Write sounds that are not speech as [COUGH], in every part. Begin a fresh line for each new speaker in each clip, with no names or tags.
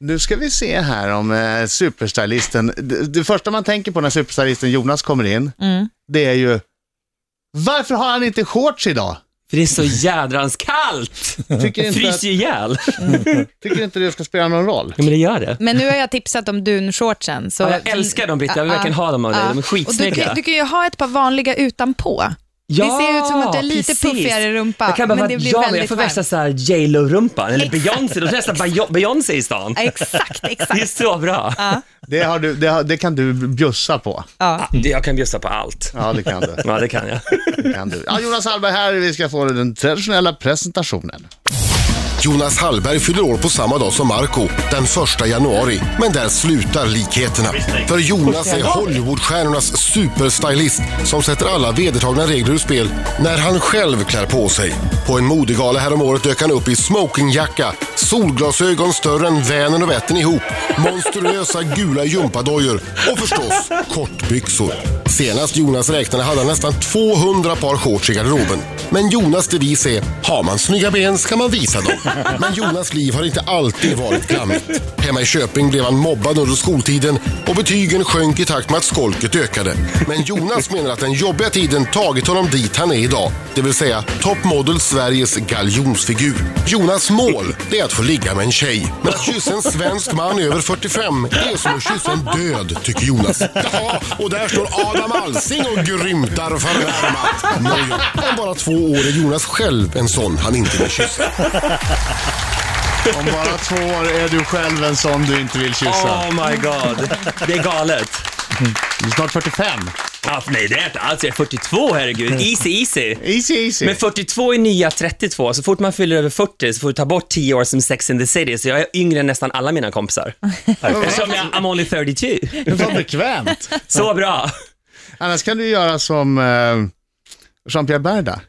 Nu ska vi se här om eh, superstylisten. Det, det första man tänker på när superstylisten Jonas kommer in, det är ju varför har han inte shorts idag?
För det är så jädrans
[LAUGHS]
kallt!
Tycker
Jag
inte, att,
fryser ju ihjäl.
tycker inte det ska spela någon roll?
Ja, men det gör det.
Men nu har jag tipsat om dunshortsen. Så...
Ja, jag älskar dem Britta, jag vill
Ah,
verkligen ha dem av dig. De
ah.
är
Och du,
skitsnygga.
kan- du kan ju ha ett par vanliga utanpå.
Ja,
det ser ut som att du är lite puffigare rumpa,
Jag kan
men
behöva,
det blir
ja, men jag
väldigt
får
varmt.
värsta så här J Lo-rumpan, eller
Exakt.
Beyoncé, de testar Beyo- Beyoncé i stan. [LAUGHS]
Ja, Exakt,
Det är
exakt.
så bra.
Det, har du, det, har, det kan du bjussa på.
Ja.
Det- Jag kan bjussa på allt.
Ja, det kan du.
Ja, det kan jag.
Det kan du. Ja, Jonas Hallberg här, vi ska få den traditionella presentationen.
Jonas Hallberg fyller år på samma dag som Marco den 1 januari. Men där slutar likheterna. För Jonas är Hollywoodstjärnornas superstylist som sätter alla vedertagna regler ur spel när han själv klär på sig. På en modegala häromåret dök han upp i smokingjacka, solglasögon större än Vänern och Vättern ihop, monstruösa gula gympadojor och förstås kortbyxor. Senast Jonas räknade hade han nästan 200 par shorts i garderoben. Men Jonas devis är, har man snygga ben ska man visa dem. Men Jonas liv har inte alltid varit glammigt. Hemma i Köping blev han mobbad under skoltiden och betygen sjönk i takt med att skolket ökade. Men Jonas menar att den jobbiga tiden tagit honom dit han är idag. Det vill säga Top Model Sveriges galjonsfigur. Jonas mål, det är att få ligga med en tjej. Men att kyssa en svensk man över 45 är som att kyssa en död, tycker Jonas. Jaha, och där står Adam Alsing och grymtar förnärmat. Nåja, om bara två år är Jonas själv en sån han inte vill kyssa.
Om bara två år är du själv en sån du inte vill kyssa.
Oh my god. Det är galet.
Du är snart 45.
Ja, nej, det är inte alls. Jag är 42, herregud. Easy, easy.
Easy, easy.
Men 42 är nya 32, så fort man fyller över 40 så får du ta bort 10 år som Sex and the City, så jag är yngre än nästan alla mina kompisar. Eftersom jag, I'm only 32.
Vad [LAUGHS] bekvämt.
Så bra.
Annars kan du göra som eh, Jean-Pierre Berda.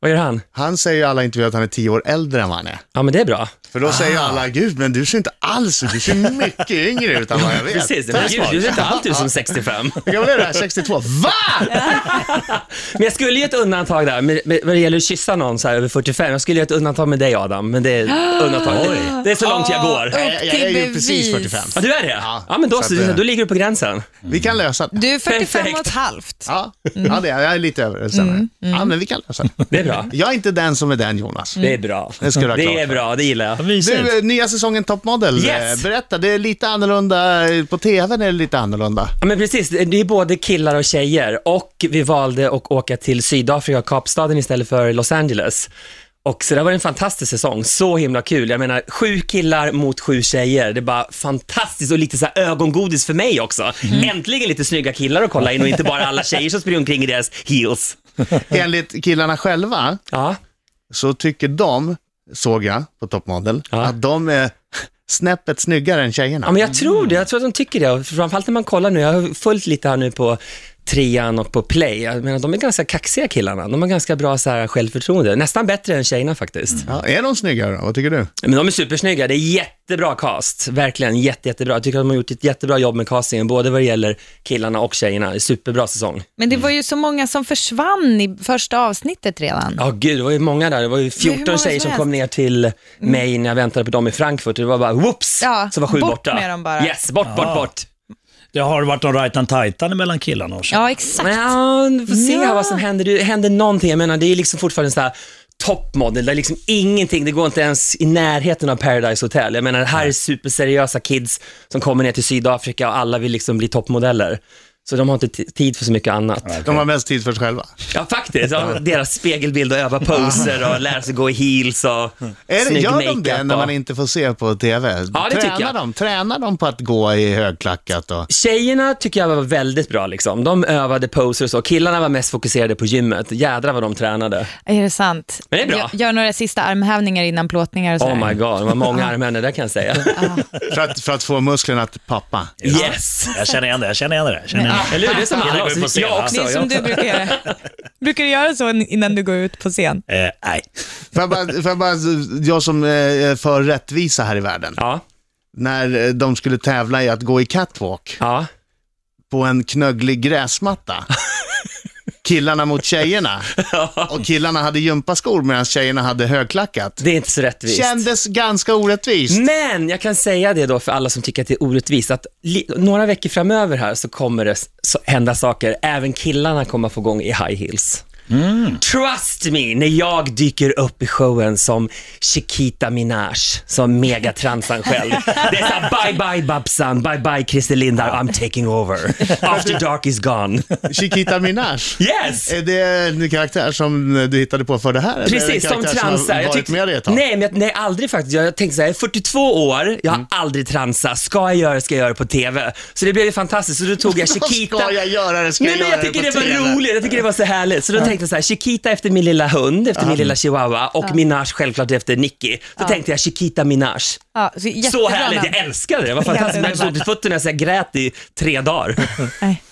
Vad gör han?
Han säger ju i alla intervjuer att han är tio år äldre än vad han är.
Ja, men det är bra.
För då säger
Ah.
ju alla, gud men du ser inte alls ut, du ser mycket yngre ut än vad jag vet.
[LAUGHS] Precis,
Det är
men gud,
smart.
du ser inte alltid ut
[LAUGHS]
som 65.
Hur gammal är du? 62? Va?
Men jag skulle ge ett undantag där, med, med, vad det gäller att kyssa någon så här över 45. Jag skulle ge ett undantag med dig Adam, men det
[GASPS]
är ett undantag. Det, det är så långt jag går.
Upp
Jag, jag är ju
till
precis
bevis.
45.
Ja, du är det?
Ja,
Ja, men då,
så
så,
att, eh,
då ligger du på gränsen.
Vi kan lösa det.
Du är 45 och ett
Perfekt.
halvt.
Ja, ja det är, jag är lite över det senare.
Mm,
Ja, men vi kan lösa det.
Det är bra.
Jag är inte den som är den Jonas.
Det är bra.
Det ska du ha klart
är
för.
bra, det gillar jag.
Du, eh, nya säsongen Top Model.
Yes.
Eh, Berätta, det är lite annorlunda. eh, På tvn är det lite
[LAUGHS]
annorlunda.
Ja, men precis, det är både killar och tjejer och vi valde att åka till Sydafrika, Kapstaden istället för Los Angeles. Och så det var en fantastisk säsong, så himla kul. Jag menar, sju killar mot sju tjejer, det är bara fantastiskt och lite så här ögongodis för mig också. Äntligen lite snygga killar att kolla in och inte bara alla tjejer som springer omkring i deras heels.
Enligt killarna själva
Ja,
så tycker de, såg jag på Top Model,
Ja.
att de är snäppet snyggare än tjejerna.
ja men jag tror det, jag tror att de tycker det. Och Framförallt när man kollar nu, jag har följt lite här nu på trean och på play. Jag menar, de är ganska kaxiga killarna, de har ganska bra så här, självförtroende. Nästan bättre än tjejerna faktiskt.
Ja, är de snyggare då? Vad tycker du?
Men de är supersnygga. Det är jättebra cast. Verkligen jätte, jättebra. Jag tycker att de har gjort ett jättebra jobb med castingen, både vad det gäller killarna och tjejerna. Det är Superbra säsong.
Men det var ju så många som försvann i första avsnittet redan.
Ja, gud, det var ju många där. Det var ju
hur många
14 tjejer
som Mm.
som kom ner till mig när jag väntade på dem i Frankfurt. Det var bara whoops,
Ja,
så var sju
bort
borta.
med dem bara.
Yes, bort, bort, bort.
Det har varit någon right and titan mellan killarna och tjejerna.
Ja, exakt.
Ja, vi får se
Ja.
här vad som händer. Det händer någonting. Jag menar, det är liksom fortfarande så här toppmodell, det är liksom ingenting, det går inte ens i närheten av Paradise Hotel. Jag menar, det här är superseriösa kids som kommer ner till Sydafrika och alla vill liksom bli toppmodeller. Så de har inte t- tid för så mycket annat.
De har mest tid för sig själva.
Ja, faktiskt. Ja, deras spegelbild och öva poser och lära sig gå i heels och
Är det,
snygg
gör de
makeup
det när man
och-
inte får se på tv?
Ja, det tycker
tränar
jag.
de? Tränar de på att gå i högklackat? Och...
Tjejerna tycker jag var väldigt bra liksom. De övade poser och så. Killarna var mest fokuserade på gymmet. Jädrar vad de tränade.
Är det sant?
Men det är bra.
Gör, gör några sista armhävningar innan plåtningar och sådär.
Oh my god, det var många armhävningar där kan jag säga.
För, att, för att få musklerna att pappa.
Yes!
Jag känner igen det, jag känner igen det. Jag känner igen det.
Eller hur? Det är som
Innan
alla.
jag går på Alltså,
oss.
scen,
Jag också.
Det är
Alltså, jag
som du
också.
brukar göra. Brukar du göra så innan du går ut på scen?
Eh, nej.
Får jag, bara, får jag, bara, jag som eh, är för rättvisa här i världen.
Ja,
När eh, de skulle tävla i att gå i catwalk
ja.
på en knögglig gräsmatta. killarna mot tjejerna. Och killarna hade gympaskor medan tjejerna hade högklackat.
Det är inte så rättvist.
Kändes ganska orättvist.
Men jag kan säga det då för alla som tycker att det är orättvist, att li- några veckor framöver här så kommer det s- så hända saker. Även killarna kommer få igång i high heels. Trust me, när jag dyker upp i showen som Chiquita Minaj, som megatransan själv. Det är såhär, bye bye Babsan, bye bye Christer Lindar, I'm taking over. After dark is gone.
Chiquita Minaj.
Yes!
Är det en karaktär som du hittade på för det här? eller är det en
Precis, som
karaktär Som
transa.
har
Jag
varit
tyckte-
med dig ett tag?
nej, men jag, nej, aldrig faktiskt. Jag, jag tänkte så här, jag är 42 år,
Mm.
jag har aldrig transat. Ska jag göra det, ska jag göra det på TV. Så det blev ju fantastiskt. Så då
[LAUGHS]
tog jag Chiquita.
Ska jag göra det? Ska
Nej,
jag
men
göra
jag tycker det
på TV?
var roligt, jag tycker det var så härligt. Så då tänkte jag så här, Chiquita efter min lilla hund, efter min lilla chihuahua och Minaj självklart efter Nicky. Då tänkte jag Chiquita Minaj.
Ja, så,
Så
jättebra
härligt,
namn.
jag älskade det. Det var fantastiskt. Jag stod på fötterna så jag grät i
[LAUGHS]
tre dagar.
Nej.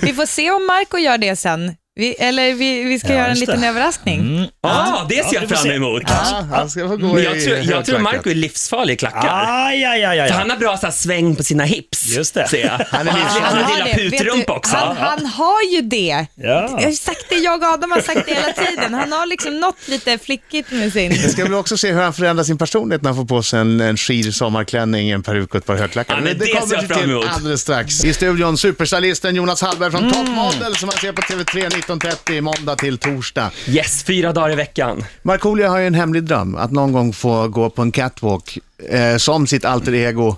Vi får se om Marco gör det sen. Vi, eller vi, vi ska göra en
just
liten
det.
överraskning.
Mm. Ja, det ser
Ja,
jag
vi får
fram
se.
emot.
Ja, han ska få gå
Men
i
jag tror, jag tror
högklackat.
Marco är livsfarlig i klackar.
Aj, aj, aj, aj.
För han har bra så här, sväng på sina hips.
Just det.
Ser jag. Han
är
har
livsfarlig.
han har
har
lilla
det. Vet
putrumpa
du,
också.
Han, han har ju det.
Ja.
Jag har sagt det, jag och Adam har sagt det hela tiden. Han har liksom något lite flickigt med sin...
Det ska bli också se hur han förändrar sin personlighet när han får på sig en, en skir sommarklänning, en peruk och ett par högklackar.
Ja, men det ser jag
vi
fram emot. Mm.
alldeles strax. I studion superstylisten Jonas Hallberg från Top Model som man ser på TV3 19.30 måndag till torsdag.
Yes, fyra dagar i veckan.
Markoolio har ju en hemlig dröm, att någon gång få gå på en catwalk eh, som sitt alter ego.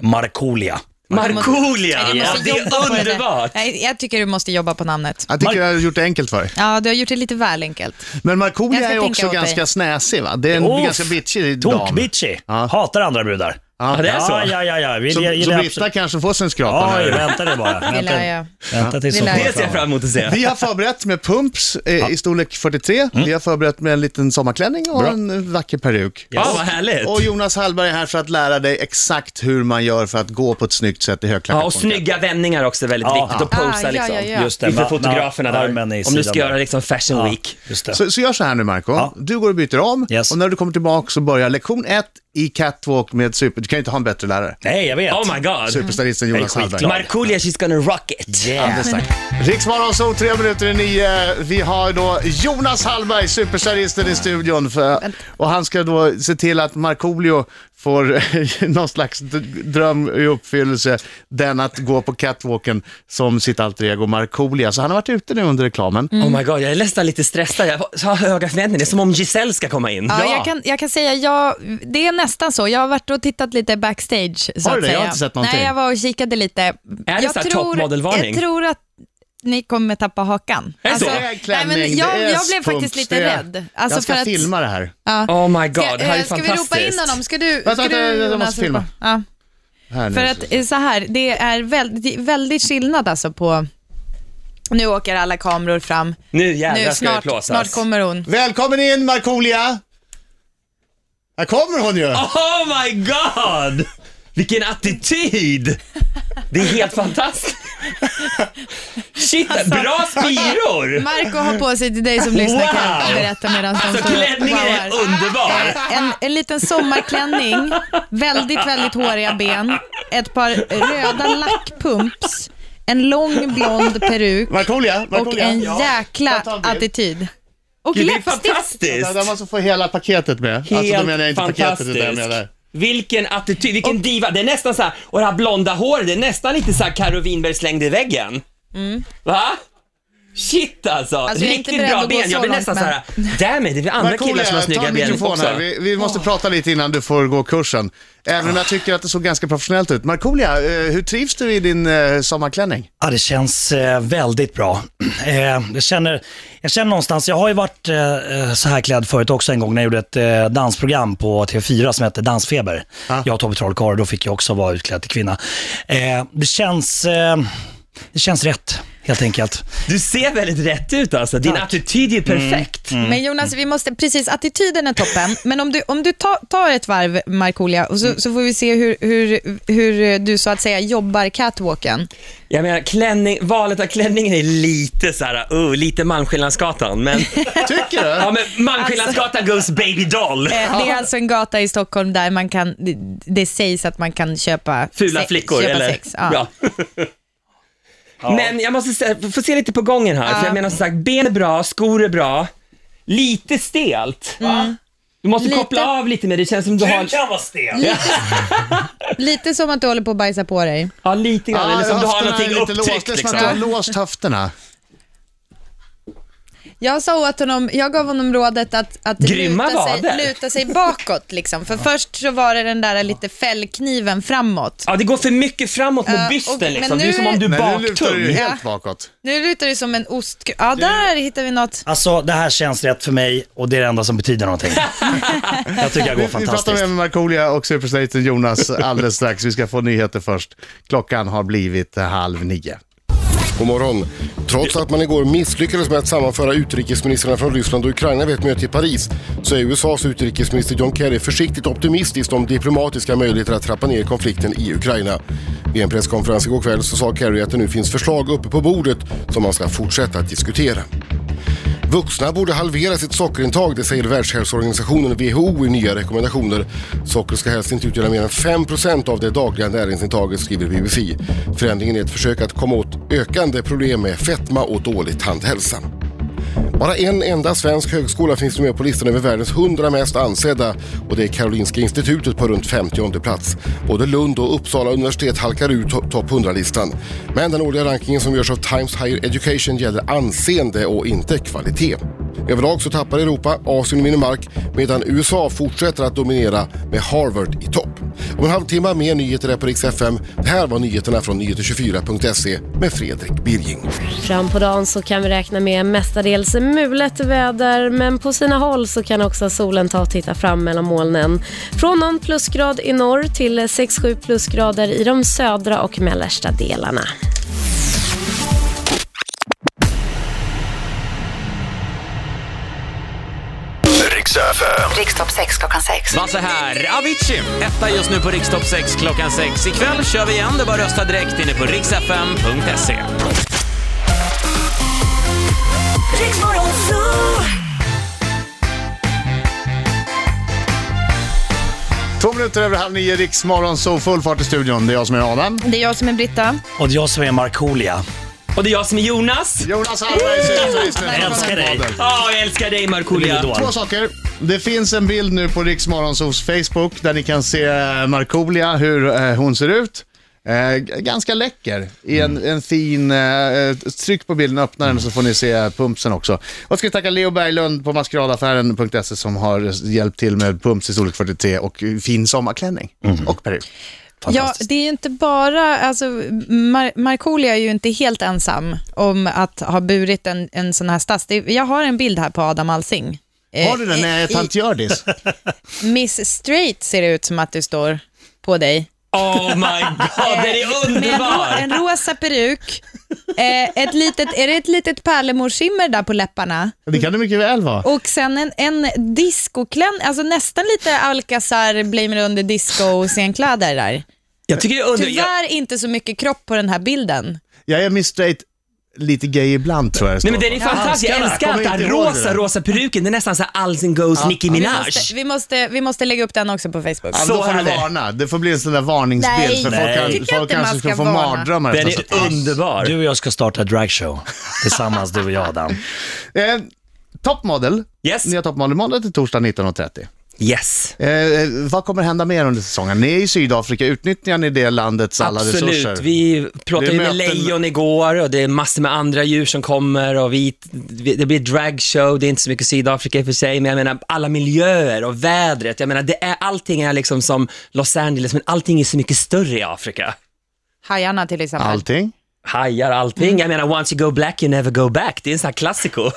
Markolia.
Markoolio!
Nej, du
Ja,
måste
det
jobba på
är
där.
underbart!
Nej, jag tycker du måste jobba på namnet.
Jag tycker
Mar-
jag har gjort det enkelt för dig.
Ja, du har gjort det lite väl enkelt.
Men
Jag
Markoolio
ska
är
tänka
också
åt
ganska
dig.
snäsig va? Det är en
Åh,
ganska bitchig dam.
Tokbitchy.
Ja.
Hatar andra brudar.
Ja.
Ja, det är så.
Ja, ja, ja. ja. Vi
Så, så
gillar
Britta
absolut-
kanske får sig en skrapa
Oj,
nu.
vänta det
Det
bara.
lär
Vänta,
jag.
vänta tills
Det
hon
lär
kommer
Det ser jag fram emot att se.
Vi har förberett med pumps eh, i storlek 43. Vi har förberett med en liten sommarklänning och en eh, vacker peruk.
Ja, vad härligt!
Och Jonas Hallberg är här för att lära dig exakt hur man gör för att gå på ett snyggt sätt i högklackat
Ja, och
konka.
snygga vändningar också är väldigt
Ja.
viktigt. Och posa
Ah, ja,
liksom.
ja, ja.
Just det,
Inför
ma-
fotograferna
ma-
där.
armen i
Om du
sidan
ska
där.
göra liksom fashion week.
Just det.
Så, så gör så här nu Marco.
Ja.
Du går och byter om
Yes.
och när du kommer tillbaka så börjar lektion 1 i catwalk med super... Du kan ju inte ha en bättre lärare.
Nej, jag vet.
Oh my god!
Superstylisten
är
Jonas Hallberg.
skitglad.
Markoolio, she's gonna rock it!
Alldeles strax. Riksmorgon, så tre minuter i nio. Vi har då Jonas Hallberg, superstylisten i studion. För, och han ska då se till att Markoolio får [LAUGHS] någon slags d- dröm i uppfyllelse. Den att gå på catwalken som sitt alter ego Markoolio. Så han har varit ute nu under reklamen.
Mm.
Oh my god, jag är nästan lite stressad. Jag har höga förväntningar. Det är som om Giselle ska komma in.
Ja, jag, kan, jag kan säga, jag, det är nästan så. Jag har varit och tittat lite backstage. Så
Har du det? Jag
att säga.
har inte sett någonting.
Nej, jag var och kikade lite. Är
det
jag
så här toppmodelvarning?
Jag tror att ni kommer tappa hakan. Alltså,
Är det så?
Det är Äh, klänning,
nej, men jag,
det är
jag blev
pumps,
faktiskt
det
lite
är-
rädd. Alltså
jag ska
för att-
filma det här.
Oh my god, det här är
ska vi ropa in
fantastiskt.
honom? Ska du,
Vänta,
ska
vänta,
du
jag måste
Jonas,
filma.
ropa? Ja.
här nu.
För att eh, så här, det är väldigt, väldigt skillnad alltså på... Nu åker alla kameror fram.
Nu jävlar
Nu
ska det
snart,
plåsas.
snart kommer hon.
Välkommen in Markoolio! Här kommer hon ju!
Oh my god! Vilken attityd! Det är helt fantastiskt. Shit, bra spiror!
Marco har på sig till dig som lyssnar kan jag
Wow!
berätta medan de
Alltså
står och
klänningen är
wowar.
underbar.
en, en liten sommarklänning, väldigt, väldigt håriga ben, ett par röda lackpumps, en lång blond peruk
Markoolio,
och
Markoolio.
en
Ja,
jäkla
ta en bild.
attitid. Och
Gud, det är
läppstift!
Vänta, Där
fantastiskt.
måste få hela paketet med. alltså då
Helt
menar jag inte paketet, utan jag
fantastisk.
menar...
Vilken attityd, vilken diva. Det är nästan så här, och det här blonda håret, det är nästan lite så här Karo Winberg slängde i väggen. Va? Shit alltså,
Alltså, jag är inte
riktigt
beredd
bra
att gå
ben.
så
Jag blir
långt,
nästan
men-
så här, därmed, det är väl andra
Markoolio,
killar som har
ta
snygga ben
mikrofonen
också.
här. Vi, vi måste prata lite innan du får gå kursen. Även om jag tycker att det såg ganska professionellt ut. Markoolio, eh, hur trivs du i din eh, sommarklänning?
Ja, det känns eh, väldigt bra. [CLEARS THROAT] Eh, jag, känner, jag känner någonstans, jag har ju varit eh, så här klädd förut också en gång när jag gjorde ett eh, dansprogram på TV4 som hette Dansfeber. Jag och Tobbe Trollkarl, då fick jag också vara utklädd till kvinna. Eh, det, känns, eh, det känns rätt, helt enkelt.
Du ser väldigt rätt ut alltså, din attityd är perfekt.
Men Jonas, vi måste, precis, attityden är toppen, [LAUGHS] men om du, om du ta, tar ett varv Markoolio, och
Mm.
så, så får vi se hur, hur, hur du så att säga jobbar catwalken.
Jag menar, klänning, valet av klänningen är lite så här, uh, lite
[LAUGHS]
Malmskillnadsgatan, men,
Tycker du?
ja, men Malmskillnadsgatan
Alltså-
goes baby doll.
Eh, Det är alltså en gata i Stockholm där man kan, det, det sägs att man kan köpa
Fula
se-
[LAUGHS]
flickor,
köpa
eller?
sex. Ja.
Ja. Men jag måste säga, vi får se lite på gången här, för jag menar som sagt, ben är bra, skor är bra, lite stelt. Mm. Du måste
Lite.
koppla av lite med det, det känns som du har...
kan vara stel.
Lite som att du håller på att bajsa på dig.
Ja, lite grann, eller som du har
höfterna är
någonting
lite låst.
upptryckt
Det är som
liksom.
att du har låst höfterna.
Jag sa åt honom, jag gav honom rådet att, att
Grymma
luta, sig,
vader.
luta sig bakåt. Liksom. För först så var det den där lite fällkniven framåt.
Ja, det går för mycket framåt mot
Ja,
bysten
och- men
liksom. Det är
nu-
som om du är
Nej, nu lutar du ju
baktung.
helt bakåt.
Nu lutar det som en ost... Ja, där hittar vi något.
Alltså det här känns rätt för mig och det är det enda som betyder [LAUGHS] någonting. jag tycker jag går
Vi, vi pratar
fantastiskt.
med Markoolio och superstariten
[LAUGHS]
Jonas alldeles strax. Vi ska få nyheter först. Klockan har blivit halv nio.
God morgon. Trots att man igår misslyckades med att sammanföra utrikesministrarna från Ryssland och Ukraina vid ett möte i Paris så är USAs utrikesminister John Kerry försiktigt optimistisk om diplomatiska möjligheter att trappa ner konflikten i Ukraina. Vid en presskonferens igår kväll så sa Kerry att det nu finns förslag uppe på bordet som man ska fortsätta att diskutera. Vuxna borde halvera sitt sockerintag, det säger Världshälsoorganisationen WHO i nya rekommendationer. Socker ska helst inte utgöra mer än 5 av det dagliga näringsintaget, skriver BBC. Förändringen är ett försök att komma åt ökande problem med fetma och dålig tandhälsa. Bara en enda svensk högskola finns nu med på listan över världens 100 mest ansedda och det är Karolinska institutet på runt 50 plats. Både Lund och Uppsala universitet halkar ur to- topp 100-listan. Men den årliga rankingen som görs av Times Higher Education gäller anseende och inte kvalitet. Överlag så tappar Europa, Asien vinner mark medan USA fortsätter att dominera med Harvard i topp. Om en halvtimme mer nyheter här på Rix FM. Det här var nyheterna från nyheter24.se med Fredrik Birging.
Fram på dagen så kan vi räkna med mestadels mulet väder men på sina håll så kan också solen ta och titta fram mellan molnen. Från någon plusgrad i norr till 6-7 plusgrader i de södra och mellersta delarna.
Riks FM.
Rikstopp 6 klockan 6.
Var så här, Avicii, etta just nu på Rikstopp 6 klockan 6. Ikväll kör vi igen, det är bara att rösta direkt inne på riksfm.se.
Riksmorgon Zoo!
Två minuter över halv nio, Riksmorgon, så full fart i studion. Det är jag som är Adam.
Det är jag som är Britta.
Och jag som är Markolia.
Och det är jag som är Jonas.
Jonas Hallberg, superstaristen.
Jag älskar dig.
Ja, jag älskar dig
Det är
Markoolio.
idol.
Två saker. Det finns en bild nu på Riksmorgonsos Facebook där ni kan se eh, Markoolio, hur eh, hon ser ut. Eh, g- ganska läcker i en, en fin... Eh, tryck på bilden, öppna den så får ni se pumpsen också. Och ska vi tacka Leo Berglund på maskeradaffären.se som har hjälpt till med pumps i storlek 43 och fin sommarklänning och peruk.
Ja, det är ju inte bara, alltså, Mar- Markoolio är ju inte helt ensam om att ha burit en, en sån här stass. Det, jag har en bild här på Adam Alsing. Eh,
Har du den? Nej,
i-
tant Hjördis.
i- Miss Straight ser det ut som att du står på dig. Eh,
Oh my god, den är
Med en, ro-
underbar!
en rosa peruk. Eh, ett litet, är det ett litet pärlemorskimmer där på läpparna?
Det kan det mycket väl vara.
Och sen en, en discoklänning, alltså nästan lite Alcazar, Blame It On The Disco-scenkläder där.
Jag tycker det är under... Jag...
Tyvärr inte så mycket kropp på den här bilden.
Jag är Miss Straight, lite gay ibland tror jag det
Nej men den är
står.
fantastisk, jag
Handskarna,
älskar
kommer
att den
inte
här
ihåg det
rosa,
där.
rosa peruken, det är nästan så här Alls and Goes Nicki
Vi
Minaj.
måste, vi, måste, vi måste lägga upp den också på Facebook.
Ja, men då
Så
får du
är det.
varna. Det får bli en sån där varningsbild.
Nej,
för
Nej.
folk,
tycker
kan, folk
inte man
kanske
ska
ska få
varna.
mardrömmar.
Den
efteråt.
är underbar.
Du och jag ska starta dragshow tillsammans, du och jag Adam.
Eh, Toppmodel.
Yes.
Nya toppmodelmåndag till torsdag 19.30.
Yes.
Eh, eh, vad kommer hända mer under säsongen? Ni är i Sydafrika, utnyttjar ni det landets alla
Absolut.
resurser?
Vi pratade
Det är
ju med
möten-
lejon igår och det är massor med andra djur som kommer och vi, vi- det blir dragshow, det är inte så mycket Sydafrika i och för sig, men jag menar alla miljöer och vädret. Jag menar, det är, allting är liksom som Los Angeles, men allting är så mycket större i Afrika.
Hajarna till exempel.
Allting?
Hajar, allting.
Mm.
Jag menar, once you go black you never go back. Det är en sån här klassiker.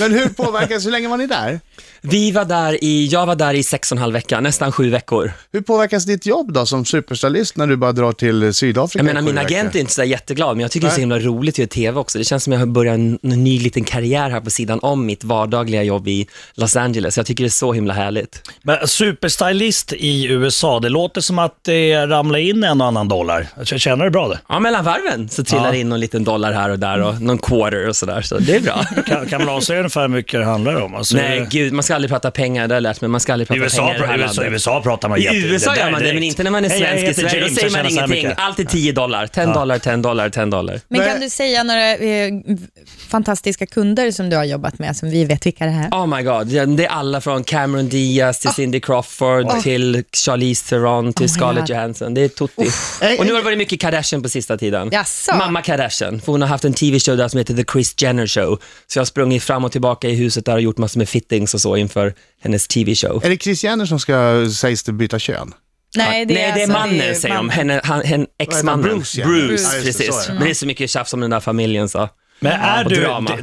Men hur påverkas, hur länge var ni där?
Vi var där i, jag var där i sex och en halv vecka, nästan sju veckor.
Hur påverkas ditt jobb då som superstylist när du bara drar till eh, Sydafrika?
Jag
i
menar,
sju
min
veckor?
agent är inte så där jätteglad, men jag tycker det är så
Nej.
himla roligt att göra TV också. Det känns som jag har börjat en en ny liten karriär här på sidan om mitt vardagliga jobb i Los Angeles. Jag tycker det är så himla härligt.
Men superstylist i USA, det låter som att det ramlar in en och annan dollar. Känner du tjänar du bra det.
Ja, mellan varven så trillar
Ja.
det in någon liten dollar här och där och någon quarter och sådär, så det är
[LAUGHS]
bra. [LAUGHS]
Kan, kan man avslöja ungefär hur mycket det handlar om? Alltså,
Nej, gud, man ska aldrig prata pengar, det har jag lärt mig. Man ska aldrig
I
prata
USA,
pengar i det här
USA,
landet.
USA pratar man
I
jätte-
USA
där
gör man det,
direkt.
men inte när man är
Hej, jag
svensk i
heter
Sverige.
James,
Då säger
jag
man
tjänar så här
ingenting.
mycket.
Allt är 10 dollar, 10 dollar, 10 dollar, 10 dollar.
Men
Men-
kan du säga några eh, fantastiska kunder som du har jobbat med, som vi vet vilka det är?
Oh my god, ja, det är alla från Cameron Diaz till Cindy Crawford till Charlize Theron till
Ah. Oh my
Scarlett
God.
Johansson. Det är tutti.
Eh,
Och nu har det varit mycket Kardashian på sista tiden.
Jaså?
Mamma Kardashian, för hon har haft en TV-show där som heter The Chris Jenner Show. Så jag har sprungit fram och tillbaka i huset där och gjort massor med fittings och så inför hennes TV-show.
Är det Chris Jenner som ska, sägs det, byta kön?
Nej,
Nej, det är
alltså-
mannen
det är ju
säger de.
mannen.
Henne, han, hen,
Vad
ex-mannen.
heter han? Bruce, ja. Bruce.
Bruce,
Ja, just det, så är
precis.
det.
Men det är så mycket tjafs om den där familjen så.
Men är
och
du
Ah, drama.
d-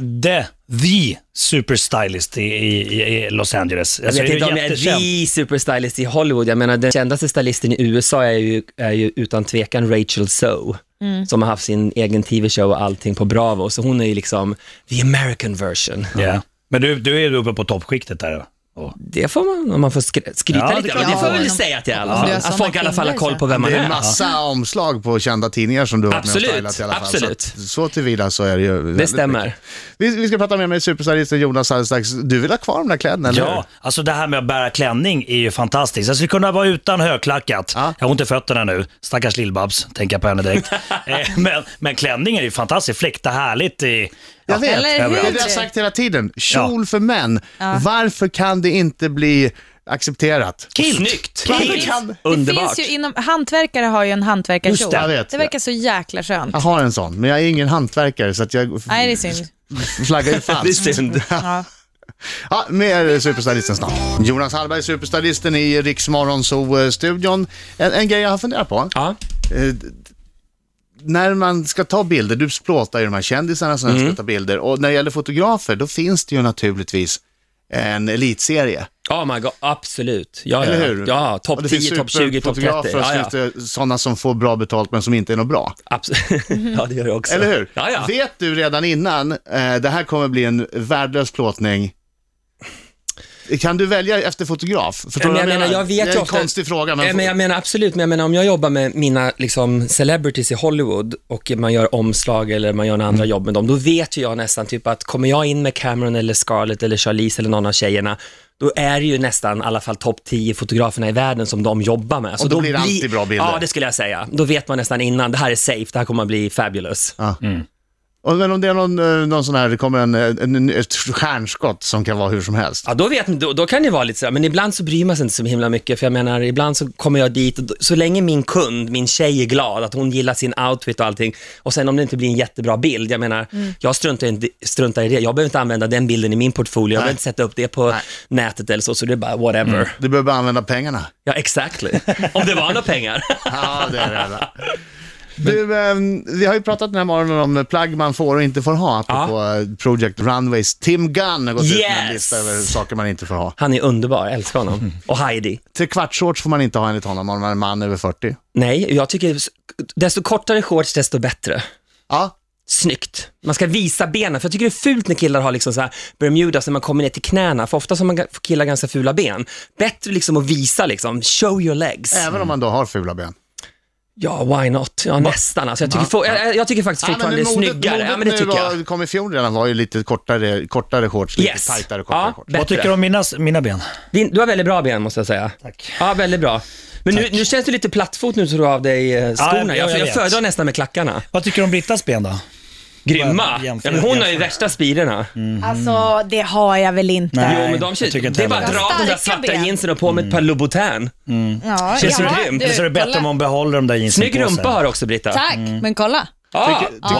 the, the superstylist i, i, i Los Angeles? Alltså,
Jag
Alltså,
vet inte om jag
jättekänd.
är the superstylist i Hollywood. Jag menar, den kändaste stylisten i USA är ju, är ju utan tvekan Rachel Zoe,
Mm.
som har haft sin egen TV-show och allting på Bravo. Så hon är ju liksom the American version.
Ja. Men du, du är uppe på toppskiktet där. Och,
Det får man, om man får skry- skryta
Ja, det
lite.
kan
Det, det
man
får jag
få.
väl säga att jag i alla
Om
fall.
du har
Att
såna
folk i alla fall har
fingrar,
koll på
så.
vem man
Det är
är.
en massa omslag på kända tidningar som du har varit med och
Absolut,
stylat i alla fall.
absolut.
Så, att- så tillvida så är det ju. väldigt
Det stämmer.
mycket. Vi, vi ska prata mer med superstylisten Jonas alldeles strax. Du vill ha kvar de där kläderna, eller hur?
ja, alltså det här med att bära klänning är ju fantastiskt. Jag skulle kunna vara utan högklackat.
Ja.
Jag har ont i fötterna nu. Stackars Lill-Babs, tänker jag på
[LAUGHS]
henne direkt. Eh, men, men klänningen är ju fantastisk. Fläktar härligt i...
Jag vet.
Eller hur?
Det är det jag har sagt hela tiden. Kjol för män.
Ja.
Varför kan det inte bli accepterat?
Kilt. Snyggt!
Varför
Kilt.
kan-
Det
Underbart.
finns ju inom, hantverkare har ju en hantverkarkjol.
Just det, jag vet. Alltså-
det verkar så jäkla skönt.
Jag har en sån, men jag är ingen hantverkare så att jag
Nej, det är synd.
flaggar ju
Det är
falskt. [LAUGHS]
synd.
Ja.
Ja, mer Superstylisten snart. Jonas Hallberg, Superstylisten i Riksmorgonzoo-studion. En, en grej jag har funderat på.
Ja.
Eh, d- när man ska ta bilder, du plåtar ju de här kändisarna som
Mm.
ska ta bilder och när det gäller fotografer då finns det ju naturligtvis en elitserie,
Oh my god, absolut. Ja,
eller
ja.
hur?
Ja,
Och
topp
det finns
10, topp 20, topp 30.
superfotografer och så
Ja, ja.
finns det sådana som får bra betalt men som inte är något bra.
[LAUGHS] Absolut. ja, det gör det också.
Eller hur?
Alltså. Ja, ja.
Vet du redan innan, eh, det här kommer bli en värdelös plåtning. Kan du välja efter fotograf? Förstår
Men
du
jag
vad
menar, jag vet
det är
ju
en
ofta-
konstig fråga.
Nej,
Men
men jag menar absolut, men jag menar om jag jobbar med mina liksom, celebrities i Hollywood och man gör omslag eller man gör några
Mm.
andra jobb med dem, då vet ju jag nästan typ att kommer jag in med Cameron eller Scarlett eller Charlize eller någon av tjejerna, då är det ju nästan i alla fall topp 10 fotograferna i världen som de jobbar med. Så
Och då blir det alltid bra bilder.
Ja, det skulle jag säga. Då vet man nästan innan, det här är safe, det här kommer att bli fabulous.
Och men om det är någon, eh, någon sån här, det kommer en, en, en, ett stjärnskott som kan vara hur som helst.
Ja, då, vet, då, då kan det vara lite sådär, men ibland så bryr man sig inte så himla mycket, för jag menar, ibland så kommer jag dit, och då- så länge min kund, min tjej är glad, att hon gillar sin outfit och allting, och sen om det inte blir en jättebra bild, jag menar, jag struntar, inte, struntar i det, jag behöver inte använda den bilden i min portfolio, jag behöver inte sätta upp det på nätet eller så, så det är bara whatever.
Du behöver bara använda pengarna.
Ja, exactly. Om det var några pengar. [LAUGHS]
Ja, det är det. enda. Du, eh, vi har ju pratat den här morgonen om plagg man får och inte får ha, apropå eh, Project Runways. Tim Gunn har gått ut med en
Yes!
lista över saker man inte får ha.
Han är underbar, jag älskar honom. Och Heidi.
Trekvartsshorts får man inte ha enligt honom om man är man över 40.
Nej, jag tycker, desto kortare shorts, desto bättre.
Ja,
snyggt. Man ska visa benen, för jag tycker det är fult när killar har liksom så här Bermudas när man kommer ner till knäna, för ofta så har man ga- killar ganska fula ben. Bättre liksom att visa liksom, show your legs.
även om man då har fula ben.
Ja, why not? Ja, nästan alltså. Jag tycker, få- jag, jag tycker faktiskt fortfarande det är snyggare. ja, men det tycker jag.
Modet kom i fjol redan var ju lite kortare, kortare shorts, lite
Yes.
tajtare kortare
Ja,
shorts.
bättre.
vad tycker du om mina, mina ben?
Din, du har väldigt bra ben måste jag säga. Tack. Ja, väldigt bra. Men nu, nu känns du lite plattfot nu så du har av dig eh, skorna.
jag- jag
jag jag
vet.
föredrar nästan med klackarna.
Vad tycker du om Brittas ben då?
Grymma.
Bara
Ja,
jämför-
men hon har ju
jämför.
värsta spirorna.
Alltså, det har jag väl inte.
Nej.
Jo, men de,
jag tycker inte
det är bara att
heller. Mm.
dra av de där
Starka
svarta
ben.
jeansen och på med ett par Louboutin.
Ja,
Känns
ja,
det grymt?
Eller så är det bättre
kolla.
om hon behåller de där jeansen
Snygg
på sig.
rumpa har också Britta.
Tack, men kolla.
Ah,
Tycker,
ah,
du,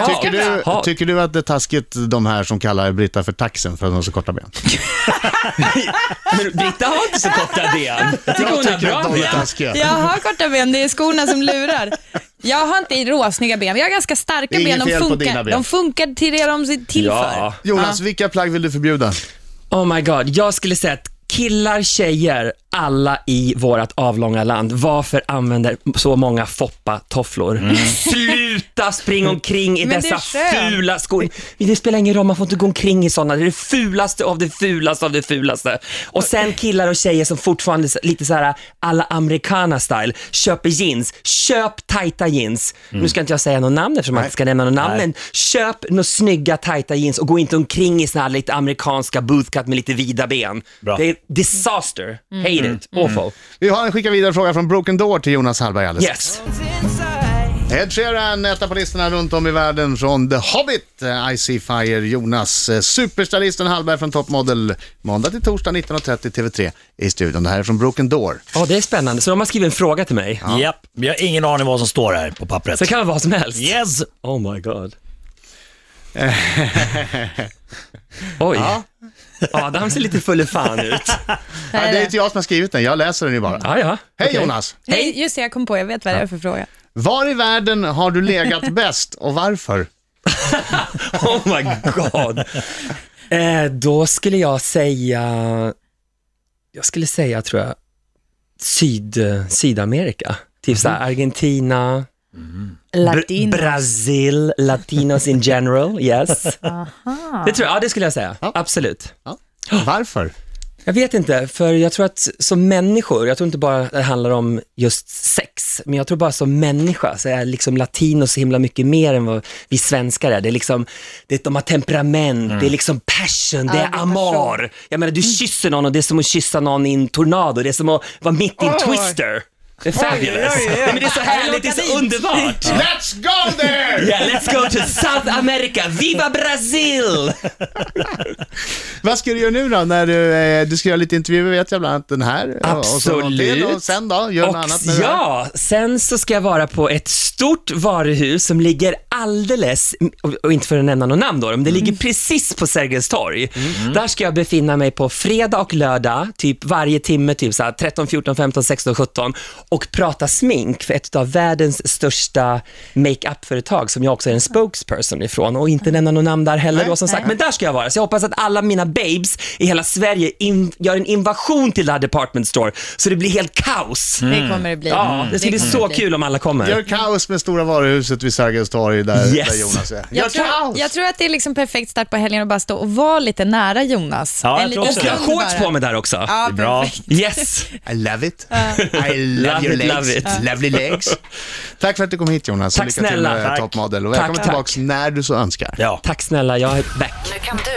ah,
tycker, du,
ah.
tycker du att det är taskigt de här som kallar Britta för taxen för att hon har så korta ben?
Men Britta har inte så
[LAUGHS]
korta ben. Jag tycker hon har bra
de är
ben.
taskiga.
Jag har korta ben, det är skorna som lurar. Jag har inte råsnygga ben, men jag har ganska starka
Det är
ben.
inget
De
fel på
funkar,
dina ben.
de funkar till det de är till
Ja.
för.
Jonas, vilka plagg vill du förbjuda?
Oh my god, jag skulle säga att killar, tjejer, alla
Mm.
i vårt avlånga land, varför använder så många foppa-tofflor? Sluta! Sluta springa omkring i
Men det är
dessa
skönt.
fula skor. Det spelar ingen roll, man får inte gå omkring i sådana. Det är det fulaste av det fulaste av det fulaste. Och sen killar och tjejer som fortfarande s- lite så här alla americana style köper jeans. Köp tajta jeans. Nu ska inte jag säga något namn eftersom man inte ska nämna något namn, men köp några snygga tajta jeans och gå inte omkring i såna här lite amerikanska bootcut med lite vida ben.
Bra.
Det är disaster. Hate it. Awful.
Vi har en skicka vidare fråga från Broken Door till Jonas Hallberg alldeles
Yes.
Ed Sheeran, etta på listorna runt om i världen från The Hobbit, eh, I see fire, Jonas, eh, superstylisten Hallberg från Top Model, måndag till torsdag 19.30 TV3 i studion. Det här är från Broken Door.
Ja, det är spännande. Så de har skrivit en fråga till mig.
Japp, vi har ingen aning vad som står här på pappret.
Så det kan vara vad som helst.
Yes!
Oh my [LAUGHS] god. Oj. Adam ser lite full i fan ut.
Ja, det är inte jag som har skrivit den, jag läser den ju bara.
Ja,
Hej
ja. Mm. Okej.
Jonas!
Hej, just det, jag kom på, jag vet vad det är för fråga.
Var i världen har du legat bäst och varför?
Oh my god. Eh, då skulle jag säga, jag skulle säga tror jag, Syd, Sydamerika. Typ såhär Argentina, Br-
Latin.
Brasil, latinos in general, yes. Det tror jag, ja det skulle jag säga,
Ja.
absolut.
Varför?
Jag vet inte, för jag tror att som människor, jag tror inte bara det handlar om just sex, men jag tror bara som människa så är liksom latino så himla mycket mer än vad vi svenskar är. Det är liksom, det, de har temperament, det är liksom passion, Mm. det är amar. Jag menar, du kysser någon och det är som att kyssa någon i en tornado, det är som att vara mitt i en twister. Det är fabulous. Nej, men det är så härligt, det är så underbart.
Let's go there!
Yeah, let's go to South America, viva Brasil!
Vad ska du göra nu då? När du, eh, du ska göra lite intervjuer vet jag, bland annat den här. eh, Och, och, så någon till,
Absolut.
och sen då? Gör något annat med det här.
ja, sen så ska jag vara på ett stort varuhus som ligger alldeles, och, och inte för att nämna något namn då, men det
Mm.
ligger precis på Sergels torg. Där ska jag befinna mig på fredag och lördag, typ varje timme, typ så här 13, 14, 15, 16, 17 och prata smink för ett av världens största makeup-företag som jag också är en spokesperson ifrån och inte nämna något namn där heller då som sagt. Men där ska jag vara, så jag hoppas att alla mina babes i hela Sverige in- gör en invasion till det här department store så det blir helt kaos.
Det kommer Mm. det bli.
mm. Ja, det ska bli
kommer
så
bli.
kul om alla kommer.
Gör kaos med stora varuhuset vid Sergels torg där,
Yes.
där Jonas är. Gör
Jag tror,
kaos!
jag tror att det är liksom perfekt start på helgen att bara stå och vara lite nära Jonas.
Ja, jag
En
tror
liten
också
Och jag har
stund
shorts
bara.
på mig där också.
Ja,
Bra.
perfekt.
Yes.
I love it. I love,
Love
your
it,
legs.
love it.
Lovely legs. Tack för att du kom hit Jonas.
Tack
Lycka till
snälla.
med
Tack.
Top Model och
Tack,
välkommen
tack.
tillbaka när du så önskar.
Ja.
Tack snälla, jag är back.
Nu kan du